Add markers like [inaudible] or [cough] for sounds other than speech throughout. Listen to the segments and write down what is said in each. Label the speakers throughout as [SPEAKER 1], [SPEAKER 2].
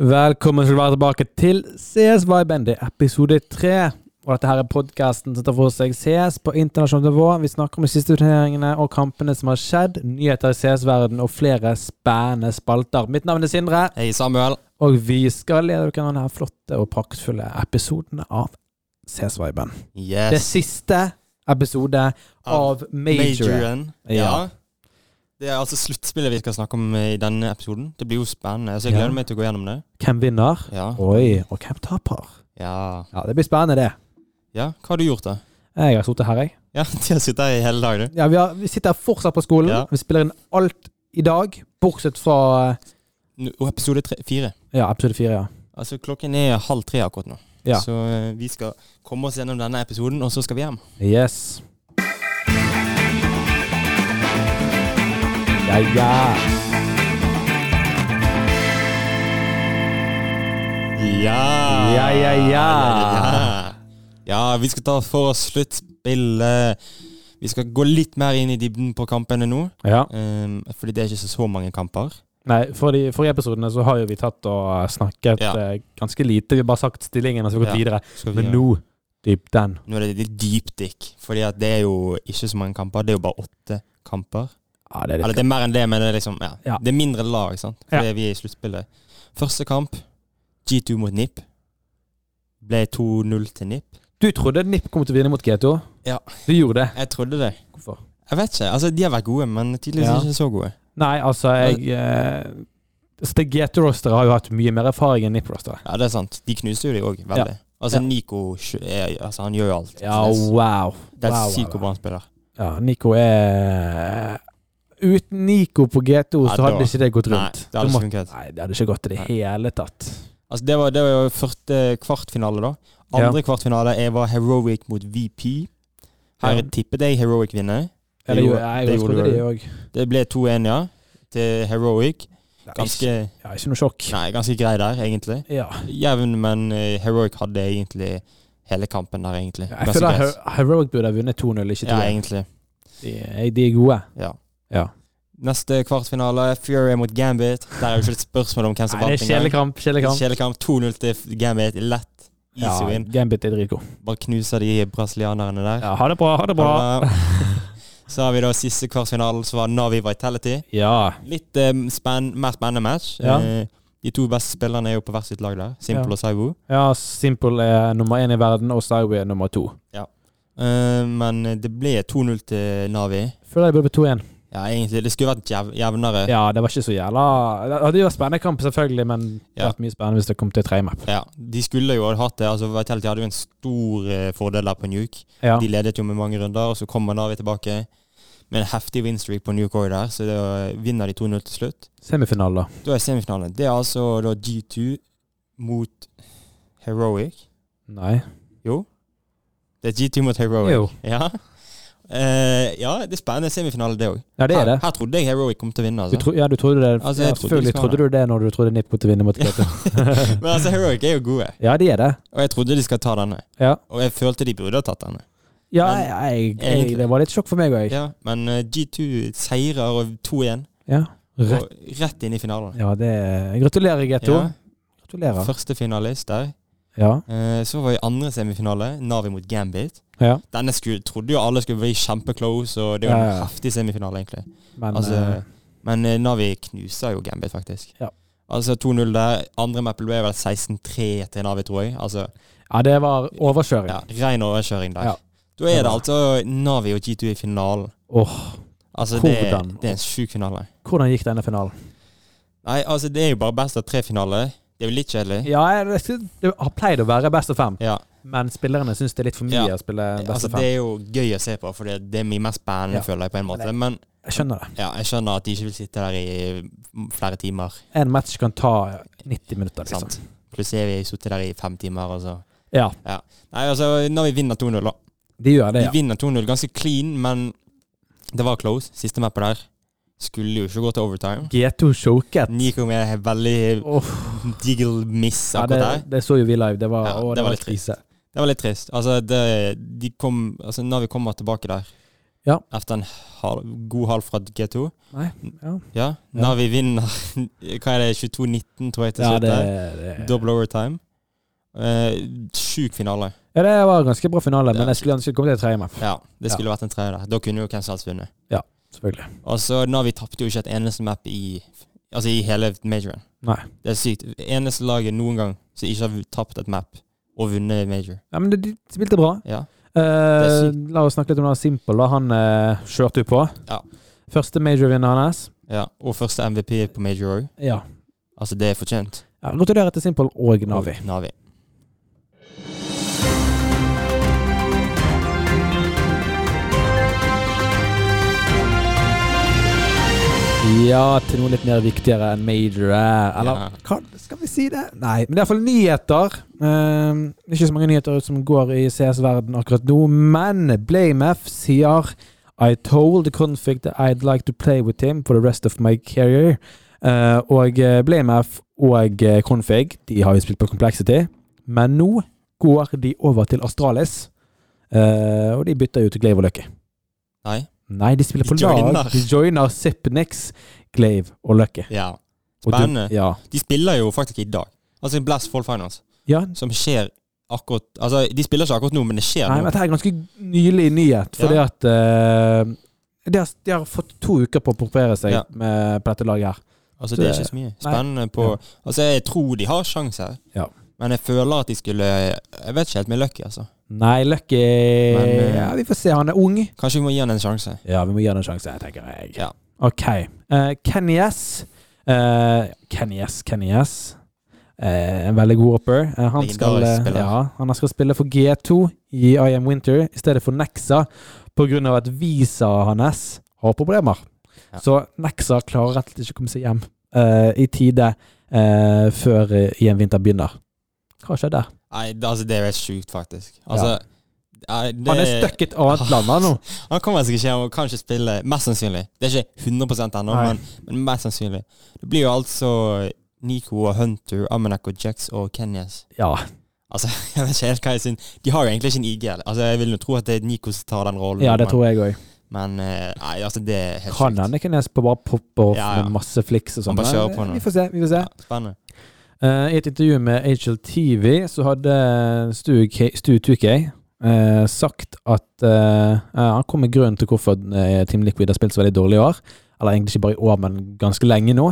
[SPEAKER 1] Velkommen skal du være tilbake til CSY Bendy, episode tre. Og dette her er podkasten som tar for seg CS på internasjonalt nivå. Vi snakker om de siste turneringene og kampene som har skjedd, nyheter i CS-verden og flere spennende spalter. Mitt navn er Sindre,
[SPEAKER 2] Hei, Samuel.
[SPEAKER 1] og vi skal lede dere gjennom denne flotte og praktfulle episoden av CSY Band. Det
[SPEAKER 2] Yes.
[SPEAKER 1] siste episode av Major.
[SPEAKER 2] Majoren.
[SPEAKER 1] Ja.
[SPEAKER 2] Ja. Det er altså sluttspillet vi skal snakke om i denne episoden. Det blir jo spennende, så jeg
[SPEAKER 1] Ja.
[SPEAKER 2] gleder meg til å gå gjennom det.
[SPEAKER 1] Hvem vinner?
[SPEAKER 2] Ja.
[SPEAKER 1] Oi, og hvem taper?
[SPEAKER 2] ja.
[SPEAKER 1] Ja, Det blir spennende, det.
[SPEAKER 2] Ja, hva har du gjort, da?
[SPEAKER 1] Jeg har sittet her, jeg.
[SPEAKER 2] Ja, [laughs] De har sittet her i hele dag, du.
[SPEAKER 1] Ja, vi, har, vi sitter fortsatt på skolen.
[SPEAKER 2] Ja.
[SPEAKER 1] Vi spiller inn alt i dag, bortsett fra eh,
[SPEAKER 2] Nå- Og episode tre, fire.
[SPEAKER 1] ja, episode fire. Ja.
[SPEAKER 2] Altså, klokken er halv tre akkurat nå.
[SPEAKER 1] Ja.
[SPEAKER 2] Så eh, vi skal komme oss gjennom denne episoden, og så skal vi hjem.
[SPEAKER 1] Yes. Ja, ja.
[SPEAKER 2] Ja.
[SPEAKER 1] Ja, ja, ja.
[SPEAKER 2] ja. Ja, vi skal ta for oss sluttspillet. Vi skal gå litt mer inn i dybden på kampene nå.
[SPEAKER 1] ja.
[SPEAKER 2] Um, fordi det er ikke så, så mange kamper.
[SPEAKER 1] Nei, for de forrige episodene så har jo vi tatt og snakket
[SPEAKER 2] Ja.
[SPEAKER 1] eh, ganske lite. Vi har bare sagt stillingen, og så har vi gått
[SPEAKER 2] Ja.
[SPEAKER 1] videre.
[SPEAKER 2] Skal vi
[SPEAKER 1] Men
[SPEAKER 2] gjøre-
[SPEAKER 1] nå, dyp den.
[SPEAKER 2] nå er det litt dypdykk. Fordi at det er jo ikke så mange kamper. Det er jo bare åtte kamper.
[SPEAKER 1] Ja, det er
[SPEAKER 2] Eller
[SPEAKER 1] litt
[SPEAKER 2] det er mer enn det, men det er liksom ja.
[SPEAKER 1] Ja.
[SPEAKER 2] Det er mindre lag, sant. Fordi vi er i sluttspillet. Første kamp, G2 mot NIP. Ble 2-0 til NIP.
[SPEAKER 1] Du trodde NIP kom til å vinne mot G2?
[SPEAKER 2] Ja.
[SPEAKER 1] Du gjorde det.
[SPEAKER 2] Jeg trodde det.
[SPEAKER 1] Hvorfor?
[SPEAKER 2] Jeg vet ikke. Altså, de har vært gode, men tydeligvis
[SPEAKER 1] Ja.
[SPEAKER 2] ikke så gode.
[SPEAKER 1] Nei, altså, jeg eh, altså, Det G2-rosteret har jo hatt mye mer erfaring enn NIP-rosteret.
[SPEAKER 2] Ja, det er sant. De knuste jo de òg, veldig. Altså,
[SPEAKER 1] Ja.
[SPEAKER 2] Nico kjø- er, altså, han gjør jo alt.
[SPEAKER 1] Ja,
[SPEAKER 2] det
[SPEAKER 1] wow.
[SPEAKER 2] er
[SPEAKER 1] wow, wow,
[SPEAKER 2] sykt
[SPEAKER 1] wow.
[SPEAKER 2] hvor bra han spiller.
[SPEAKER 1] Ja, Nico er eh, Uten Nico på G2
[SPEAKER 2] Ja,
[SPEAKER 1] så hadde
[SPEAKER 2] da-
[SPEAKER 1] ikke det gått
[SPEAKER 2] Nei,
[SPEAKER 1] rundt.
[SPEAKER 2] det
[SPEAKER 1] Du
[SPEAKER 2] hadde ikke
[SPEAKER 1] må-
[SPEAKER 2] funket.
[SPEAKER 1] Nei, det hadde ikke gått i det
[SPEAKER 2] Nei.
[SPEAKER 1] hele tatt.
[SPEAKER 2] Altså det var, det var jo første kvartfinale, da. Andre kvartfinale jeg var Heroic mot VP. Her
[SPEAKER 1] Ja.
[SPEAKER 2] tippet jeg Heroic vinner. Det
[SPEAKER 1] Eller jo,
[SPEAKER 2] gjorde-
[SPEAKER 1] jeg
[SPEAKER 2] det
[SPEAKER 1] også
[SPEAKER 2] gjorde
[SPEAKER 1] trodde
[SPEAKER 2] du.
[SPEAKER 1] det òg.
[SPEAKER 2] Det ble 2-1, ja, til Heroic. Ganske,
[SPEAKER 1] Ja, ikke noe sjokk.
[SPEAKER 2] nei, ganske grei der, egentlig.
[SPEAKER 1] Ja.
[SPEAKER 2] Jevn, men eh, Heroic hadde egentlig hele kampen der, egentlig.
[SPEAKER 1] Jeg
[SPEAKER 2] Ganske
[SPEAKER 1] føler
[SPEAKER 2] greit.
[SPEAKER 1] Her- Heroic burde ha vunnet 2-0, ikke 2-1.
[SPEAKER 2] Ja, egentlig.
[SPEAKER 1] de, de er gode.
[SPEAKER 2] Ja.
[SPEAKER 1] Ja.
[SPEAKER 2] Neste kvartfinale, Fury mot Gambit. Der er jo ikke et spørsmål om hvem som
[SPEAKER 1] Nei,
[SPEAKER 2] vant
[SPEAKER 1] det er kjelekamp. kjelekamp.
[SPEAKER 2] Kjelekamp 2-0 til Gambit. Lett.
[SPEAKER 1] Ja,
[SPEAKER 2] Easy win.
[SPEAKER 1] Gambit er dritgod.
[SPEAKER 2] Bare knuser de brasilianerne der.
[SPEAKER 1] Ja, ha det bra, ha det bra.
[SPEAKER 2] Ha det bra. Så har vi da siste kvartfinalen, som var Navi Vitality.
[SPEAKER 1] Ja.
[SPEAKER 2] Litt eh, spenn, mer spennende match.
[SPEAKER 1] Ja.
[SPEAKER 2] Eh, de to beste spillerne er jo på hvert sitt lag der. Simple
[SPEAKER 1] Ja.
[SPEAKER 2] og Saibo.
[SPEAKER 1] ja, Simple er nummer én i verden, og Saiwi er nummer to.
[SPEAKER 2] Eh, men det ble 2-0 til Navi.
[SPEAKER 1] Føler jeg burde på 2-1.
[SPEAKER 2] Ja, egentlig. Det skulle vært jev jevnere. Ja.
[SPEAKER 1] Ja, det var ikke så jævla Det hadde jo vært spennende kamp, selvfølgelig, men det hadde vært mye spennende hvis det kom til tredje map.
[SPEAKER 2] De skulle jo ha hatt det. Altså, Vitality hadde jo en stor eh, fordel der på Nuke.
[SPEAKER 1] Ja.
[SPEAKER 2] De ledet jo med mange runder, og så kommer Navi tilbake med en heftig winstreak på Nuke òg der, så det, vinner de 2-0 til slutt.
[SPEAKER 1] Semifinale, da.
[SPEAKER 2] Da er semifinalen. Det er altså da G2 mot Heroic.
[SPEAKER 1] Nei.
[SPEAKER 2] Jo. Det er G2 mot Heroic.
[SPEAKER 1] Jo.
[SPEAKER 2] Ja. Eh, ja, det er spennende semifinale, det òg.
[SPEAKER 1] Ja, det er
[SPEAKER 2] Her,
[SPEAKER 1] det.
[SPEAKER 2] her trodde jeg Heroic kom til å vinne.
[SPEAKER 1] Du
[SPEAKER 2] Altså.
[SPEAKER 1] tro, ja, du trodde det.
[SPEAKER 2] Altså, jeg
[SPEAKER 1] ja,
[SPEAKER 2] trodde
[SPEAKER 1] selvfølgelig
[SPEAKER 2] de skal
[SPEAKER 1] trodde du det når du trodde Nipp kom til å vinne mot Gato.
[SPEAKER 2] Men altså, Heroic er jo gode,
[SPEAKER 1] ja, de er det.
[SPEAKER 2] og jeg trodde de skal ta denne.
[SPEAKER 1] Ja.
[SPEAKER 2] Og jeg følte de burde ha tatt denne.
[SPEAKER 1] Ja,
[SPEAKER 2] Men-
[SPEAKER 1] jeg, jeg,
[SPEAKER 2] Egentlig.
[SPEAKER 1] det var litt sjokk for meg òg.
[SPEAKER 2] Ja, men eh, G2 seirer og 2-1,
[SPEAKER 1] Ja. Rett.
[SPEAKER 2] og rett inn i finalen.
[SPEAKER 1] Ja, det Gratulerer, Gato.
[SPEAKER 2] Ja,
[SPEAKER 1] Gratulerer.
[SPEAKER 2] Første finalist der.
[SPEAKER 1] Ja.
[SPEAKER 2] Eh, så var vi i andre semifinale, Navi mot Gambit.
[SPEAKER 1] ja.
[SPEAKER 2] Denne skulle, trodde jo alle skulle bli kjempeclose, og det er jo
[SPEAKER 1] Ja,
[SPEAKER 2] en
[SPEAKER 1] ja.
[SPEAKER 2] heftig semifinale, egentlig.
[SPEAKER 1] Men
[SPEAKER 2] Altså,
[SPEAKER 1] eh,
[SPEAKER 2] Men eh, Navi knuser jo Gambit, faktisk.
[SPEAKER 1] Ja.
[SPEAKER 2] Altså 2-0 der. Andre mappel ble vel 16-3 til Navi, tror jeg. Altså,
[SPEAKER 1] Ja, det var overkjøring.
[SPEAKER 2] ja, Ren overkjøring der.
[SPEAKER 1] Ja.
[SPEAKER 2] Da er
[SPEAKER 1] Det
[SPEAKER 2] det
[SPEAKER 1] var-
[SPEAKER 2] altså Navi og G2 i finalen.
[SPEAKER 1] Åh,
[SPEAKER 2] Altså, det,
[SPEAKER 1] Hvordan?
[SPEAKER 2] det er en sjuk finale.
[SPEAKER 1] hvordan gikk denne finalen?
[SPEAKER 2] Nei, altså, det er jo bare best av tre-finale. Det er jo litt kjedelig.
[SPEAKER 1] Ja, jeg, det har pleid å være best av fem,
[SPEAKER 2] Ja.
[SPEAKER 1] men spillerne syns det er litt for mye
[SPEAKER 2] Ja.
[SPEAKER 1] å spille best
[SPEAKER 2] Altså,
[SPEAKER 1] av
[SPEAKER 2] det
[SPEAKER 1] fem.
[SPEAKER 2] er jo gøy å se på, for det, det er mye mer spennende,
[SPEAKER 1] Ja.
[SPEAKER 2] føler jeg, på en måte. Men
[SPEAKER 1] Jeg skjønner det.
[SPEAKER 2] ja, jeg skjønner at de ikke vil sitte der i flere timer.
[SPEAKER 1] En match kan ta 90 minutter, liksom.
[SPEAKER 2] Sant. Plutselig har vi sittet der i fem timer, og så
[SPEAKER 1] Ja,
[SPEAKER 2] Nei, altså, når vi vinner 2-0, da.
[SPEAKER 1] de gjør det,
[SPEAKER 2] Vi
[SPEAKER 1] ja.
[SPEAKER 2] vinner 2-0 ganske clean, men det var close. Siste mappet der skulle jo ikke gå til overtime.
[SPEAKER 1] G2 choket.
[SPEAKER 2] Nico med en veldig
[SPEAKER 1] Åh,
[SPEAKER 2] diggle miss
[SPEAKER 1] ja, det,
[SPEAKER 2] akkurat der.
[SPEAKER 1] det så jo vi live. Det var,
[SPEAKER 2] Ja,
[SPEAKER 1] å,
[SPEAKER 2] det
[SPEAKER 1] det
[SPEAKER 2] var
[SPEAKER 1] var
[SPEAKER 2] litt
[SPEAKER 1] krise.
[SPEAKER 2] Det var litt trist. Altså, det, de kom, altså når vi kommer tilbake der
[SPEAKER 1] Ja.
[SPEAKER 2] Etter en halv, god halv fra G2.
[SPEAKER 1] Nei, ja.
[SPEAKER 2] Ja. Navi vinner [laughs] Hva er det, 22-19, tror jeg, til
[SPEAKER 1] Ja,
[SPEAKER 2] slutt.
[SPEAKER 1] det,
[SPEAKER 2] der.
[SPEAKER 1] det.
[SPEAKER 2] Double overtime. Eh, sjuk finale.
[SPEAKER 1] ja, det var en ganske bra finale, men
[SPEAKER 2] Ja.
[SPEAKER 1] jeg skulle ønske det kom til et tredje match,
[SPEAKER 2] Ja, det skulle vært en tredje der. Da kunne jo hvem som helst vunnet.
[SPEAKER 1] selvfølgelig.
[SPEAKER 2] Og så Navi tapte jo ikke et eneste map i Altså i hele majoren.
[SPEAKER 1] Nei.
[SPEAKER 2] Det er sykt. Eneste laget noen gang som ikke har tapt et map og vunnet major.
[SPEAKER 1] Ja, men de, de spilte bra.
[SPEAKER 2] Ja.
[SPEAKER 1] Eh,
[SPEAKER 2] sykt.
[SPEAKER 1] la oss snakke litt om det Simple. Da. Han eh, kjørte jo på.
[SPEAKER 2] Ja.
[SPEAKER 1] Første major-vinneren hans.
[SPEAKER 2] ja. Og første MVP på major òg.
[SPEAKER 1] Ja.
[SPEAKER 2] Altså, det er fortjent.
[SPEAKER 1] ja. Gratulerer til Simple og Navi.
[SPEAKER 2] Og Navi.
[SPEAKER 1] Ja, til noe litt mer viktigere enn major er. Eller
[SPEAKER 2] Ja.
[SPEAKER 1] hva skal vi si det? Nei, men det er iallfall nyheter. Eh, ikke så mange nyheter ut som går i CS-verden akkurat nå, men BlameF sier I told the conflict that I'd like to play with him for the rest of my career. Eh, og eh, BlameF og eh, Config de har jo spilt på Complexity, men nå går de over til Astralis. Eh, og de bytter jo til Glaive og Lucky.
[SPEAKER 2] Nei?
[SPEAKER 1] Nei, de spiller
[SPEAKER 2] De
[SPEAKER 1] på lag.
[SPEAKER 2] joiner.
[SPEAKER 1] De joiner Zipnix, Glaive og Lucky.
[SPEAKER 2] Ja.
[SPEAKER 1] Og du-
[SPEAKER 2] Spennende.
[SPEAKER 1] Ja.
[SPEAKER 2] De spiller jo faktisk i dag. Altså Blast Fall Finals,
[SPEAKER 1] ja.
[SPEAKER 2] som skjer akkurat Altså, de spiller ikke akkurat nå, men det skjer
[SPEAKER 1] Nei, men
[SPEAKER 2] nå.
[SPEAKER 1] dette er en ganske nylig nyhet, fordi
[SPEAKER 2] Ja.
[SPEAKER 1] at eh, de, har, de har fått to uker på å propere seg
[SPEAKER 2] Ja.
[SPEAKER 1] med, på dette laget her.
[SPEAKER 2] Altså, det er ikke så mye. Spennende på
[SPEAKER 1] Ja.
[SPEAKER 2] Altså, jeg tror de har sjanse her.
[SPEAKER 1] Ja.
[SPEAKER 2] Men jeg føler at de skulle Jeg vet ikke helt med Lucky, altså.
[SPEAKER 1] Nei, Lucky
[SPEAKER 2] Men, eh,
[SPEAKER 1] ja, Vi får se. Han er ung.
[SPEAKER 2] Kanskje vi må gi han en sjanse.
[SPEAKER 1] Ja, vi må gi han en sjanse, tenker jeg.
[SPEAKER 2] Ja.
[SPEAKER 1] OK. Eh, Kenny S. Eh, Kenny S, Kenny S. Eh, en veldig god hopper. Eh, han,
[SPEAKER 2] Legendarisk
[SPEAKER 1] skal, eh,
[SPEAKER 2] spiller.
[SPEAKER 1] ja, han skal spille for G2 i I Am Winter i stedet for Nexa pga. at visaet hans har problemer.
[SPEAKER 2] Ja.
[SPEAKER 1] Så Nexa klarer rett og slett ikke å komme seg hjem eh, i tide eh, før eh, i en vinter begynner. Hva skjedde?
[SPEAKER 2] Nei, det- altså, det er jo helt sjukt, faktisk. Altså nei, det,
[SPEAKER 1] Han er stuck i et
[SPEAKER 2] [laughs]
[SPEAKER 1] annet land han nå.
[SPEAKER 2] Han kommer seg ikke hjem og kan ikke spille, mest sannsynlig. Det er ikke 100 ennå,
[SPEAKER 1] Nei.
[SPEAKER 2] men, men mest sannsynlig. Det blir jo altså Nico og Hunter, Amenak og Jax og Kenyas.
[SPEAKER 1] Ja,
[SPEAKER 2] Altså, [laughs] jeg vet ikke helt hva jeg syns. De har jo egentlig ikke en IGL. Altså, jeg vil jo tro at det er Nico som tar den rollen.
[SPEAKER 1] ja det
[SPEAKER 2] men-
[SPEAKER 1] tror jeg òg.
[SPEAKER 2] Men eh, nei, altså, det er helt
[SPEAKER 1] Kan hende Kenes bare popper opp
[SPEAKER 2] Ja, ja.
[SPEAKER 1] med masse fliks og
[SPEAKER 2] Han
[SPEAKER 1] sånn.
[SPEAKER 2] bare kjører
[SPEAKER 1] men,
[SPEAKER 2] på nå.
[SPEAKER 1] Vi får se. vi får se.
[SPEAKER 2] Ja, spennende.
[SPEAKER 1] Eh, I et intervju med HLTV så hadde Stu K- Stu 2K eh, sagt at eh, eh, han kom med grunnen til hvorfor eh, Team Liquid har spilt så veldig dårlig i år. Eller egentlig ikke bare i år, men ganske lenge nå.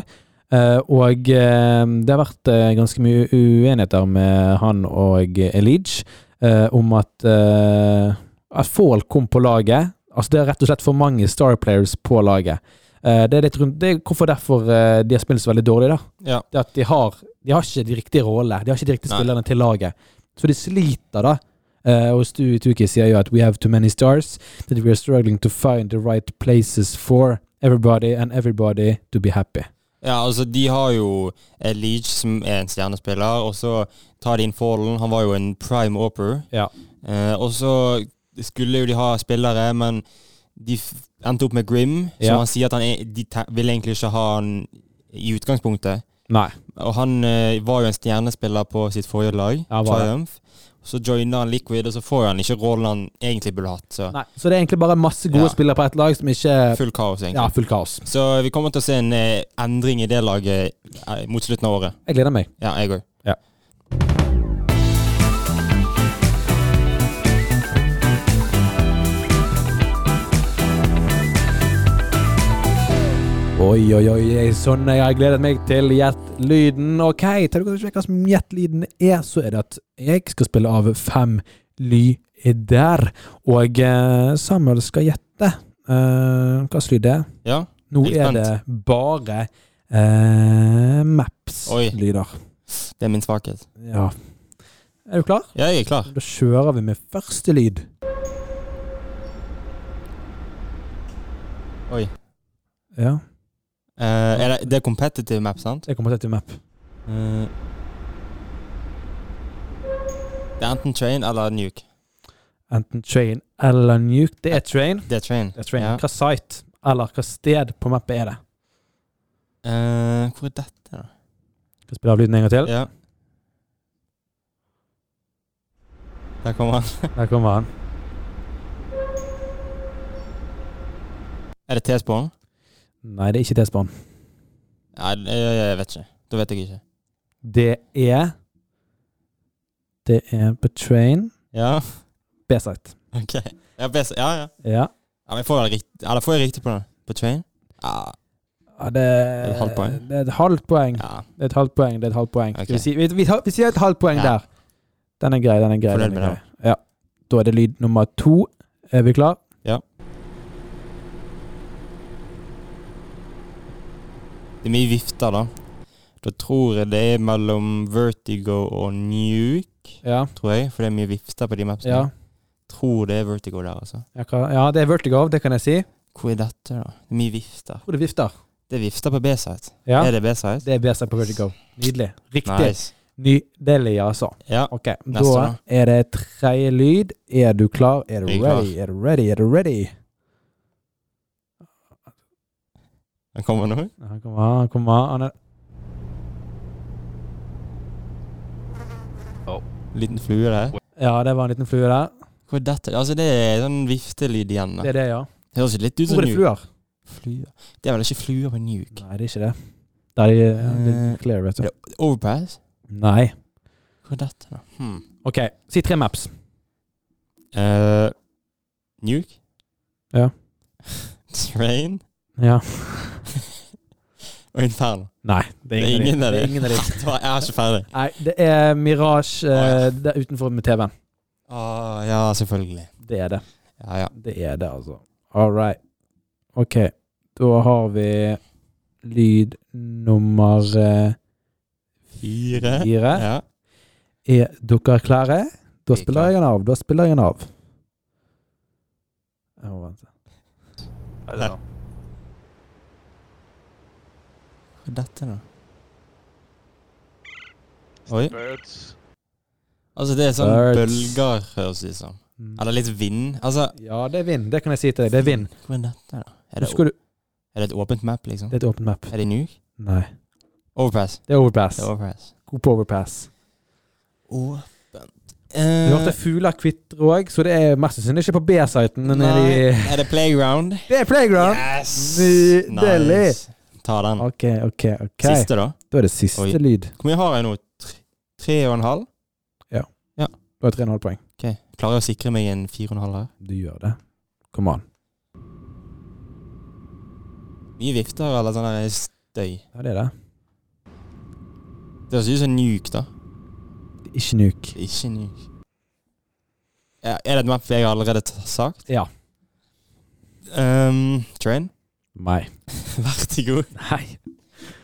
[SPEAKER 1] Eh, og eh, det har vært eh, ganske mye uenigheter med han og Elige eh, om at, eh, at Fall kom på laget. Altså Det er rett og slett for mange Star Players på laget. Eh, det er litt rundt, det er hvorfor derfor eh, de har spilt så veldig dårlig, da
[SPEAKER 2] Ja.
[SPEAKER 1] det at de har De har ikke de riktige rollene. De har ikke de riktige
[SPEAKER 2] Nei.
[SPEAKER 1] spillerne til laget. Så de sliter, da. Eh, og Stu Tuki sier jo at We have too many stars That we are struggling to find the right places for everybody and everybody to be happy.
[SPEAKER 2] Ja, altså De har jo Leach, som er en stjernespiller, og så tar de inn Fallen. Han var jo en prime oper.
[SPEAKER 1] Ja.
[SPEAKER 2] Eh, og så skulle jo de ha spillere, men de f endte opp med Grim, som
[SPEAKER 1] Ja.
[SPEAKER 2] han sier at han er, de te- vil egentlig ikke ha han i utgangspunktet.
[SPEAKER 1] Nei.
[SPEAKER 2] Og han eh, var jo en stjernespiller på sitt forrige lag,
[SPEAKER 1] Ja, var det.
[SPEAKER 2] Triumph. Så joiner han Liquid, og så får han ikke rollen han egentlig burde hatt. Så
[SPEAKER 1] Nei. Så det er egentlig bare masse gode
[SPEAKER 2] Ja.
[SPEAKER 1] spillere på ett lag som ikke
[SPEAKER 2] full kaos, egentlig.
[SPEAKER 1] Ja, full kaos.
[SPEAKER 2] Så vi kommer til å se en eh, endring i det laget eh, mot slutten av året.
[SPEAKER 1] Jeg gleder meg.
[SPEAKER 2] Ja, jeg òg.
[SPEAKER 1] Ja. Oi, oi, oi, jeg er sånn jeg har gledet meg til Gjett lyden. Ok, tar du ikke hva som Gjett lyden er, så er det at jeg skal spille av fem lyder. Og eh, Samuel skal gjette eh, hva slags lyd det er.
[SPEAKER 2] Ja.
[SPEAKER 1] Nå
[SPEAKER 2] Jeg
[SPEAKER 1] er
[SPEAKER 2] er spent.
[SPEAKER 1] det bare eh,
[SPEAKER 2] Oi.
[SPEAKER 1] Maps-lyder.
[SPEAKER 2] Det er min svakhet.
[SPEAKER 1] Ja. Er du klar?
[SPEAKER 2] Jeg er klar.
[SPEAKER 1] Da kjører vi med første lyd.
[SPEAKER 2] Oi.
[SPEAKER 1] Ja,
[SPEAKER 2] Eh, er det, det er competitive map, sant?
[SPEAKER 1] jeg kommer til et map.
[SPEAKER 2] Eh, det er enten train eller nuke.
[SPEAKER 1] Enten train eller nuke. Det er train.
[SPEAKER 2] Det er train.
[SPEAKER 1] Det er train.
[SPEAKER 2] Ja.
[SPEAKER 1] Hva site eller hva sted på mappet er det?
[SPEAKER 2] Eh, hvor er dette, da?
[SPEAKER 1] Skal jeg spille av lyden en gang til?
[SPEAKER 2] Ja. Der kommer han.
[SPEAKER 1] Der kommer han.
[SPEAKER 2] Er det T-spån?
[SPEAKER 1] Nei, det er ikke T-spawn.
[SPEAKER 2] Nei, jeg, jeg vet ikke. Da vet jeg ikke.
[SPEAKER 1] Det er Det er Betrain
[SPEAKER 2] Ja,
[SPEAKER 1] B-site.
[SPEAKER 2] ok. Ja, best, ja, ja.
[SPEAKER 1] Ja.
[SPEAKER 2] ja men får jeg, riktig, eller får jeg riktig på det? På train? Ja,
[SPEAKER 1] ja det,
[SPEAKER 2] er et halvt poeng.
[SPEAKER 1] det er et halvt poeng.
[SPEAKER 2] ja.
[SPEAKER 1] Det er et halvt poeng. Det er et halvt poeng.
[SPEAKER 2] Ok.
[SPEAKER 1] Skal vi, si, vi, vi, tar- vi sier et halvt poeng
[SPEAKER 2] Ja.
[SPEAKER 1] der. Den er grei, den er grei.
[SPEAKER 2] Fornøyd
[SPEAKER 1] Den
[SPEAKER 2] med
[SPEAKER 1] er grei. Ja. Da er det lyd nummer to. Er vi klar?
[SPEAKER 2] Det er mye vifter, da. Da tror jeg det er mellom Vertigo og Nuke,
[SPEAKER 1] Ja.
[SPEAKER 2] tror jeg. For det er mye vifter på de mapsene.
[SPEAKER 1] Ja,
[SPEAKER 2] Tror det er Vertigo der, altså.
[SPEAKER 1] ja, hva- ja det er vertigo, det kan jeg si. Jeg
[SPEAKER 2] Hvor er dette, da? Det er mye vifter.
[SPEAKER 1] tror det vifter.
[SPEAKER 2] Det er vifter på B-site.
[SPEAKER 1] Ja,
[SPEAKER 2] Er det B-site?
[SPEAKER 1] det er B-site på vertigo. Nydelig. Riktig.
[SPEAKER 2] Nice.
[SPEAKER 1] Nydelig, altså.
[SPEAKER 2] Ja.
[SPEAKER 1] Ok,
[SPEAKER 2] Neste
[SPEAKER 1] da
[SPEAKER 2] da.
[SPEAKER 1] er det tredje lyd. Er du klar? Er du
[SPEAKER 2] Jeg er klar.
[SPEAKER 1] ready? Er du ready? Er du ready?
[SPEAKER 2] Den kommer nå.
[SPEAKER 1] Han kommer, han kommer. Han er Oh.
[SPEAKER 2] Liten flue der.
[SPEAKER 1] Ja, det var en liten flue der.
[SPEAKER 2] Hvor er dette? Altså, det er sånn viftelyd igjen.
[SPEAKER 1] Det
[SPEAKER 2] da.
[SPEAKER 1] er det, ja.
[SPEAKER 2] Høres jo litt ut
[SPEAKER 1] Hvor
[SPEAKER 2] som
[SPEAKER 1] er det
[SPEAKER 2] Nuke.
[SPEAKER 1] fluer?
[SPEAKER 2] Flue. Det er vel ikke flue på Nuke?
[SPEAKER 1] Nei, det er ikke det. Da er de, ja, det er
[SPEAKER 2] Eh,
[SPEAKER 1] clear, vet du.
[SPEAKER 2] ja. Overpass?
[SPEAKER 1] Nei.
[SPEAKER 2] Hvor er dette, da? Hmm.
[SPEAKER 1] Ok, si tre maps.
[SPEAKER 2] Eh, nuke? [laughs]
[SPEAKER 1] Ja.
[SPEAKER 2] Train
[SPEAKER 1] Ja.
[SPEAKER 2] og Inferno.
[SPEAKER 1] Nei, [laughs] det er ingen, av de. Det er
[SPEAKER 2] de.
[SPEAKER 1] ingen av de.
[SPEAKER 2] [laughs] Det var- Jeg er ikke ferdig.
[SPEAKER 1] Nei, det er Mirage eh, der utenfor med TV-en.
[SPEAKER 2] Å, Ah, ja, selvfølgelig.
[SPEAKER 1] Det er det.
[SPEAKER 2] Ja, ja.
[SPEAKER 1] Det er det, altså. All right. Ok, da har vi lyd nummer eh,
[SPEAKER 2] Fire.
[SPEAKER 1] fire.
[SPEAKER 2] Ja.
[SPEAKER 1] Er dere klare? Da
[SPEAKER 2] Vi er
[SPEAKER 1] spiller jeg den av. Da spiller jeg den av. Jeg må vente.
[SPEAKER 2] Der. Hva er dette, da? Oi.
[SPEAKER 3] Birds.
[SPEAKER 2] Altså, det er sånn
[SPEAKER 1] Birds.
[SPEAKER 2] bølger, høres det ut som.
[SPEAKER 1] Mm.
[SPEAKER 2] Eller litt vind. Altså
[SPEAKER 1] Ja, det er vind. Det kan jeg si til deg. Det er vind.
[SPEAKER 2] Hvor er dette, da? Er det,
[SPEAKER 1] Husker du
[SPEAKER 2] er det et åpent map, liksom?
[SPEAKER 1] Det er et åpent map.
[SPEAKER 2] Er det Nuke?
[SPEAKER 1] Nei.
[SPEAKER 2] Overpass.
[SPEAKER 1] Det er overpass.
[SPEAKER 2] Det er overpass.
[SPEAKER 1] God på overpass.
[SPEAKER 2] Åpent
[SPEAKER 1] Du hørte
[SPEAKER 2] Eh.
[SPEAKER 1] fugler kvitre òg, så det er mest sannsynlig ikke på B-siten. men nede i-
[SPEAKER 2] Er det playground?
[SPEAKER 1] Det er playground!
[SPEAKER 2] Yes!
[SPEAKER 1] Nydelig.
[SPEAKER 2] Nice. Ta den.
[SPEAKER 1] OK, OK, OK.
[SPEAKER 2] Siste, da.
[SPEAKER 1] Da er det siste
[SPEAKER 2] Oi.
[SPEAKER 1] lyd.
[SPEAKER 2] Hvor mye har jeg nå? Tre, tre og en halv?
[SPEAKER 1] Da er det 3,5 poeng.
[SPEAKER 2] Ok, Klarer jeg å sikre meg en fire og en halv her?
[SPEAKER 1] Du gjør det. Come on.
[SPEAKER 2] Mye vifter eller sånn der støy.
[SPEAKER 1] Ja, det er det.
[SPEAKER 2] Det høres ut som nuke, da.
[SPEAKER 1] Det er Ikke nuke.
[SPEAKER 2] Det er Ikke nuke. Ja, er det et map jeg allerede t- sagt?
[SPEAKER 1] Ja.
[SPEAKER 2] Um, train? [laughs]
[SPEAKER 1] Nei.
[SPEAKER 2] Vertigo?
[SPEAKER 1] Nei.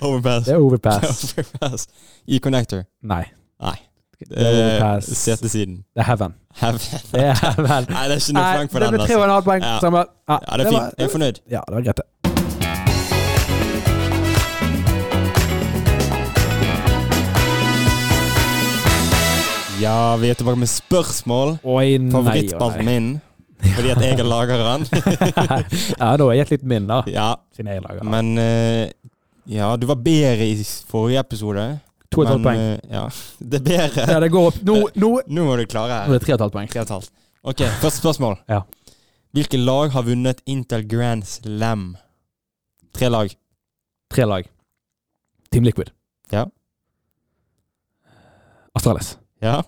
[SPEAKER 2] Overpass?
[SPEAKER 1] Det er
[SPEAKER 2] [laughs]
[SPEAKER 1] overpass.
[SPEAKER 2] Overpass. E-connector?
[SPEAKER 1] Nei.
[SPEAKER 2] Nei.
[SPEAKER 1] Det er
[SPEAKER 2] Eh,
[SPEAKER 1] overpass.
[SPEAKER 2] Setesiden.
[SPEAKER 1] Det er
[SPEAKER 2] [laughs]
[SPEAKER 1] heaven. [laughs]
[SPEAKER 2] Heaven.
[SPEAKER 1] Det er heaven.
[SPEAKER 2] Nei, det er ikke noe
[SPEAKER 1] Nei,
[SPEAKER 2] poeng
[SPEAKER 1] det
[SPEAKER 2] for den.
[SPEAKER 1] ble
[SPEAKER 2] Altså.
[SPEAKER 1] 3,5 poeng.
[SPEAKER 2] Ja.
[SPEAKER 1] Samme.
[SPEAKER 2] Ja, det
[SPEAKER 1] var-
[SPEAKER 2] er fint. Jeg er fornøyd.
[SPEAKER 1] Ja, det var greit, det.
[SPEAKER 2] Ja, vi er tilbake med spørsmål.
[SPEAKER 1] Oi, nei.
[SPEAKER 2] Favorittspalten min, fordi at jeg er
[SPEAKER 1] [laughs]
[SPEAKER 2] lageren.
[SPEAKER 1] ja, da har jeg gitt litt min, da.
[SPEAKER 2] ja,
[SPEAKER 1] Siden jeg lager. den.
[SPEAKER 2] men eh, Ja, du var bedre i forrige episode.
[SPEAKER 1] To og et halvt
[SPEAKER 2] men,
[SPEAKER 1] poeng.
[SPEAKER 2] eh, Ja, [laughs] det er bedre.
[SPEAKER 1] Ja, det går opp.
[SPEAKER 2] [laughs]
[SPEAKER 1] Nå, nå,
[SPEAKER 2] Nå må du klare
[SPEAKER 1] nå er
[SPEAKER 2] her.
[SPEAKER 1] det tre og et halvt poeng.
[SPEAKER 2] Tre og et halvt. Ok, første spørsmål.
[SPEAKER 1] Ja.
[SPEAKER 2] Hvilke lag har vunnet Intel Grand Slam? Tre lag.
[SPEAKER 1] Tre lag. Team Liquid.
[SPEAKER 2] Ja.
[SPEAKER 1] Astralis.
[SPEAKER 2] Ja.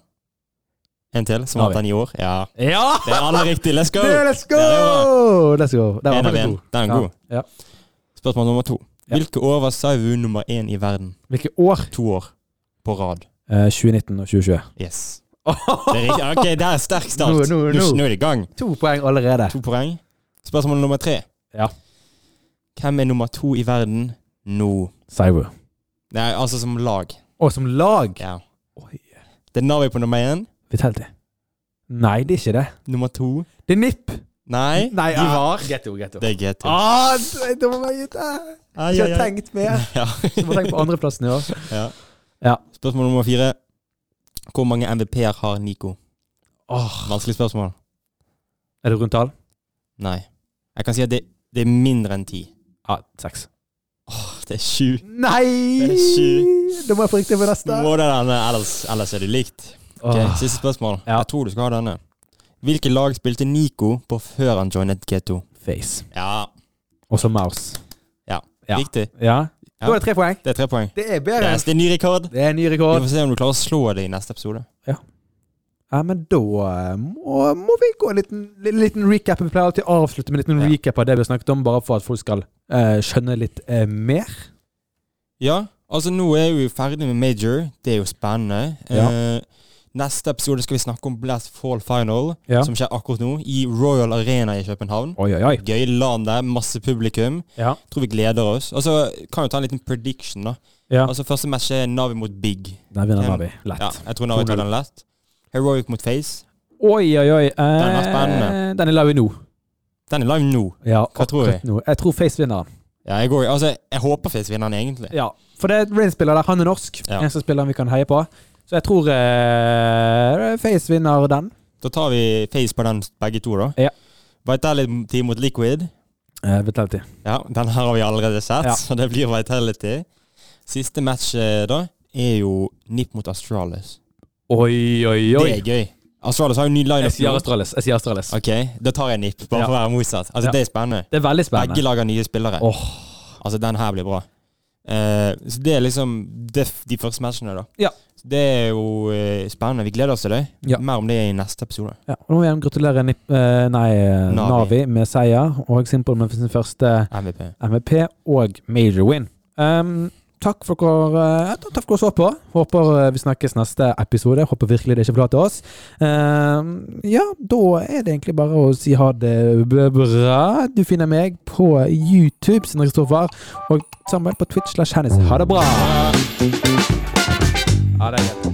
[SPEAKER 2] En til, som vant
[SPEAKER 1] Navi.
[SPEAKER 2] den i år. Ja,
[SPEAKER 1] Ja!
[SPEAKER 2] det er alle riktig. Let's go!
[SPEAKER 1] [laughs] Det, let's go!
[SPEAKER 2] Ja, det
[SPEAKER 1] let's go. Der var
[SPEAKER 2] En av
[SPEAKER 1] faktisk
[SPEAKER 2] en.
[SPEAKER 1] god.
[SPEAKER 2] Den er god.
[SPEAKER 1] Ja.
[SPEAKER 2] Spørsmål nummer to.
[SPEAKER 1] Ja.
[SPEAKER 2] Hvilke år var Saivu nummer én i verden?
[SPEAKER 1] Hvilke år?
[SPEAKER 2] To år på rad.
[SPEAKER 1] Eh, 2019 og 2020.
[SPEAKER 2] Yes. Det er riktig. Ok, det er sterk
[SPEAKER 1] [laughs]
[SPEAKER 2] start.
[SPEAKER 1] Nå-
[SPEAKER 2] Nå,
[SPEAKER 1] nå- nå.
[SPEAKER 2] nå er det i gang.
[SPEAKER 1] to poeng allerede.
[SPEAKER 2] To poeng. Spørsmål nummer tre.
[SPEAKER 1] Ja.
[SPEAKER 2] Hvem er nummer to i verden nå?
[SPEAKER 1] Cyber.
[SPEAKER 2] Nei, altså som lag.
[SPEAKER 1] Og som lag
[SPEAKER 2] Ja.
[SPEAKER 1] Oi.
[SPEAKER 2] Det er Navi på nummer én.
[SPEAKER 1] Vitality. Nei, det er ikke det.
[SPEAKER 2] Nummer to
[SPEAKER 1] Det er NIP.
[SPEAKER 2] Nei, de
[SPEAKER 1] ah,
[SPEAKER 2] var
[SPEAKER 1] Getto, getto.
[SPEAKER 2] Det er GT.
[SPEAKER 1] Ah, det det må være gitt. ah.
[SPEAKER 2] Ai,
[SPEAKER 1] Ikke
[SPEAKER 2] ai,
[SPEAKER 1] har
[SPEAKER 2] ai.
[SPEAKER 1] tenkt mer.
[SPEAKER 2] [laughs] Ja.
[SPEAKER 1] Som har tenkt på andreplassen i år.
[SPEAKER 2] Ja.
[SPEAKER 1] Ja.
[SPEAKER 2] Spørsmål nummer fire. Hvor mange MVP-er har Nico?
[SPEAKER 1] Åh,
[SPEAKER 2] Vanskelig spørsmål.
[SPEAKER 1] Er det rundt tall?
[SPEAKER 2] Nei. Jeg kan si at det, det er mindre enn ti.
[SPEAKER 1] Ja, seks.
[SPEAKER 2] Det er sju.
[SPEAKER 1] Nei!
[SPEAKER 2] Det er sju.
[SPEAKER 1] Da må jeg få riktig på neste.
[SPEAKER 2] Må det denne, ellers, ellers er det likt. Ok,
[SPEAKER 1] Åh.
[SPEAKER 2] Siste spørsmål.
[SPEAKER 1] Ja.
[SPEAKER 2] Jeg tror du skal ha denne. Hvilke lag spilte Nico på før han joinet G2?
[SPEAKER 1] Face.
[SPEAKER 2] Ja,
[SPEAKER 1] Og så Mouse. Ja.
[SPEAKER 2] Viktig.
[SPEAKER 1] Ja. Da er det tre poeng.
[SPEAKER 2] Det er tre poeng.
[SPEAKER 1] Det er bedre enn
[SPEAKER 2] Yes, det er ny rekord.
[SPEAKER 1] Det er en ny
[SPEAKER 2] Vi
[SPEAKER 1] rekord.
[SPEAKER 2] får se om du klarer å slå det i neste episode.
[SPEAKER 1] Ja, men da eh, må, må vi gå en liten, li- liten recap. Vi pleier alltid å avslutte med en liten
[SPEAKER 2] Ja.
[SPEAKER 1] recap av det vi har snakket om, bare for at folk skal eh, skjønne litt eh, mer.
[SPEAKER 2] Ja, altså nå er vi ferdig med Major. Det er jo spennende. Eh, neste episode skal vi snakke om Blast Fall Final,
[SPEAKER 1] Ja.
[SPEAKER 2] som skjer akkurat nå, i Royal Arena i København.
[SPEAKER 1] Oi, oi, oi.
[SPEAKER 2] Gøy land der, masse publikum.
[SPEAKER 1] Ja.
[SPEAKER 2] Tror vi gleder oss. Altså, Kan jo ta en liten prediction, da.
[SPEAKER 1] ja.
[SPEAKER 2] Altså Første match er Navi mot Big.
[SPEAKER 1] Den vinner
[SPEAKER 2] Hvem-
[SPEAKER 1] Navi. Lett.
[SPEAKER 2] Ja, jeg tror Navi tar den lett. Heroic mot Face.
[SPEAKER 1] Oi, oi, oi. eh,
[SPEAKER 2] var spennende.
[SPEAKER 1] Den er lav nå.
[SPEAKER 2] Den er live nå.
[SPEAKER 1] Ja,
[SPEAKER 2] Hva tror vi?
[SPEAKER 1] akkurat nå. Jeg tror Face vinner den.
[SPEAKER 2] Ja, jeg, går, altså, jeg håper Face vinner den, egentlig.
[SPEAKER 1] Ja. For det er Rain-spiller der. Han er norsk.
[SPEAKER 2] Ja.
[SPEAKER 1] Eneste spilleren vi kan heie på. Så jeg tror eh, Face vinner den.
[SPEAKER 2] Da tar vi Face på den begge to, da.
[SPEAKER 1] Ja.
[SPEAKER 2] Vitality mot Liquid.
[SPEAKER 1] Eh, Vitality.
[SPEAKER 2] Ja, den her har vi allerede sett,
[SPEAKER 1] Ja.
[SPEAKER 2] så det blir Vitality. Siste match eh, da er jo Nip mot Astralis.
[SPEAKER 1] Oi, oi, oi.
[SPEAKER 2] Det er gøy. Astralis har jo ny
[SPEAKER 1] Jeg sier
[SPEAKER 2] lineup. nå.
[SPEAKER 1] Astralis. Jeg sier Astralis.
[SPEAKER 2] Ok, da tar jeg Nip, bare
[SPEAKER 1] Ja.
[SPEAKER 2] for å være motsatt. Altså,
[SPEAKER 1] Ja.
[SPEAKER 2] Det er spennende.
[SPEAKER 1] Det er veldig
[SPEAKER 2] Begge
[SPEAKER 1] spennende.
[SPEAKER 2] lager nye spillere.
[SPEAKER 1] Åh.
[SPEAKER 2] Altså, den her blir bra. Eh, så det er liksom det, f- de første matchene, da.
[SPEAKER 1] Ja.
[SPEAKER 2] Så Det er jo eh, spennende. Vi gleder oss til det.
[SPEAKER 1] Ja.
[SPEAKER 2] Mer om det i neste episode.
[SPEAKER 1] Ja, og nå vil jeg igjen gratulere Nip, eh, nei, eh,
[SPEAKER 2] Navi.
[SPEAKER 1] Navi med seier, og Simple med sin første
[SPEAKER 2] MVP.
[SPEAKER 1] MVP og major win. Um, takk for dere eh, takk for dere så på. Håper eh, vi snakkes neste episode. Håper virkelig det ikke forlater oss. Um, ja, da er det egentlig bare å si ha det b- bra. Du finner meg på YouTube, Sindre Kristoffer, og Samuel på Twitch slash Hennis. Ha det bra! Ja, det er greit.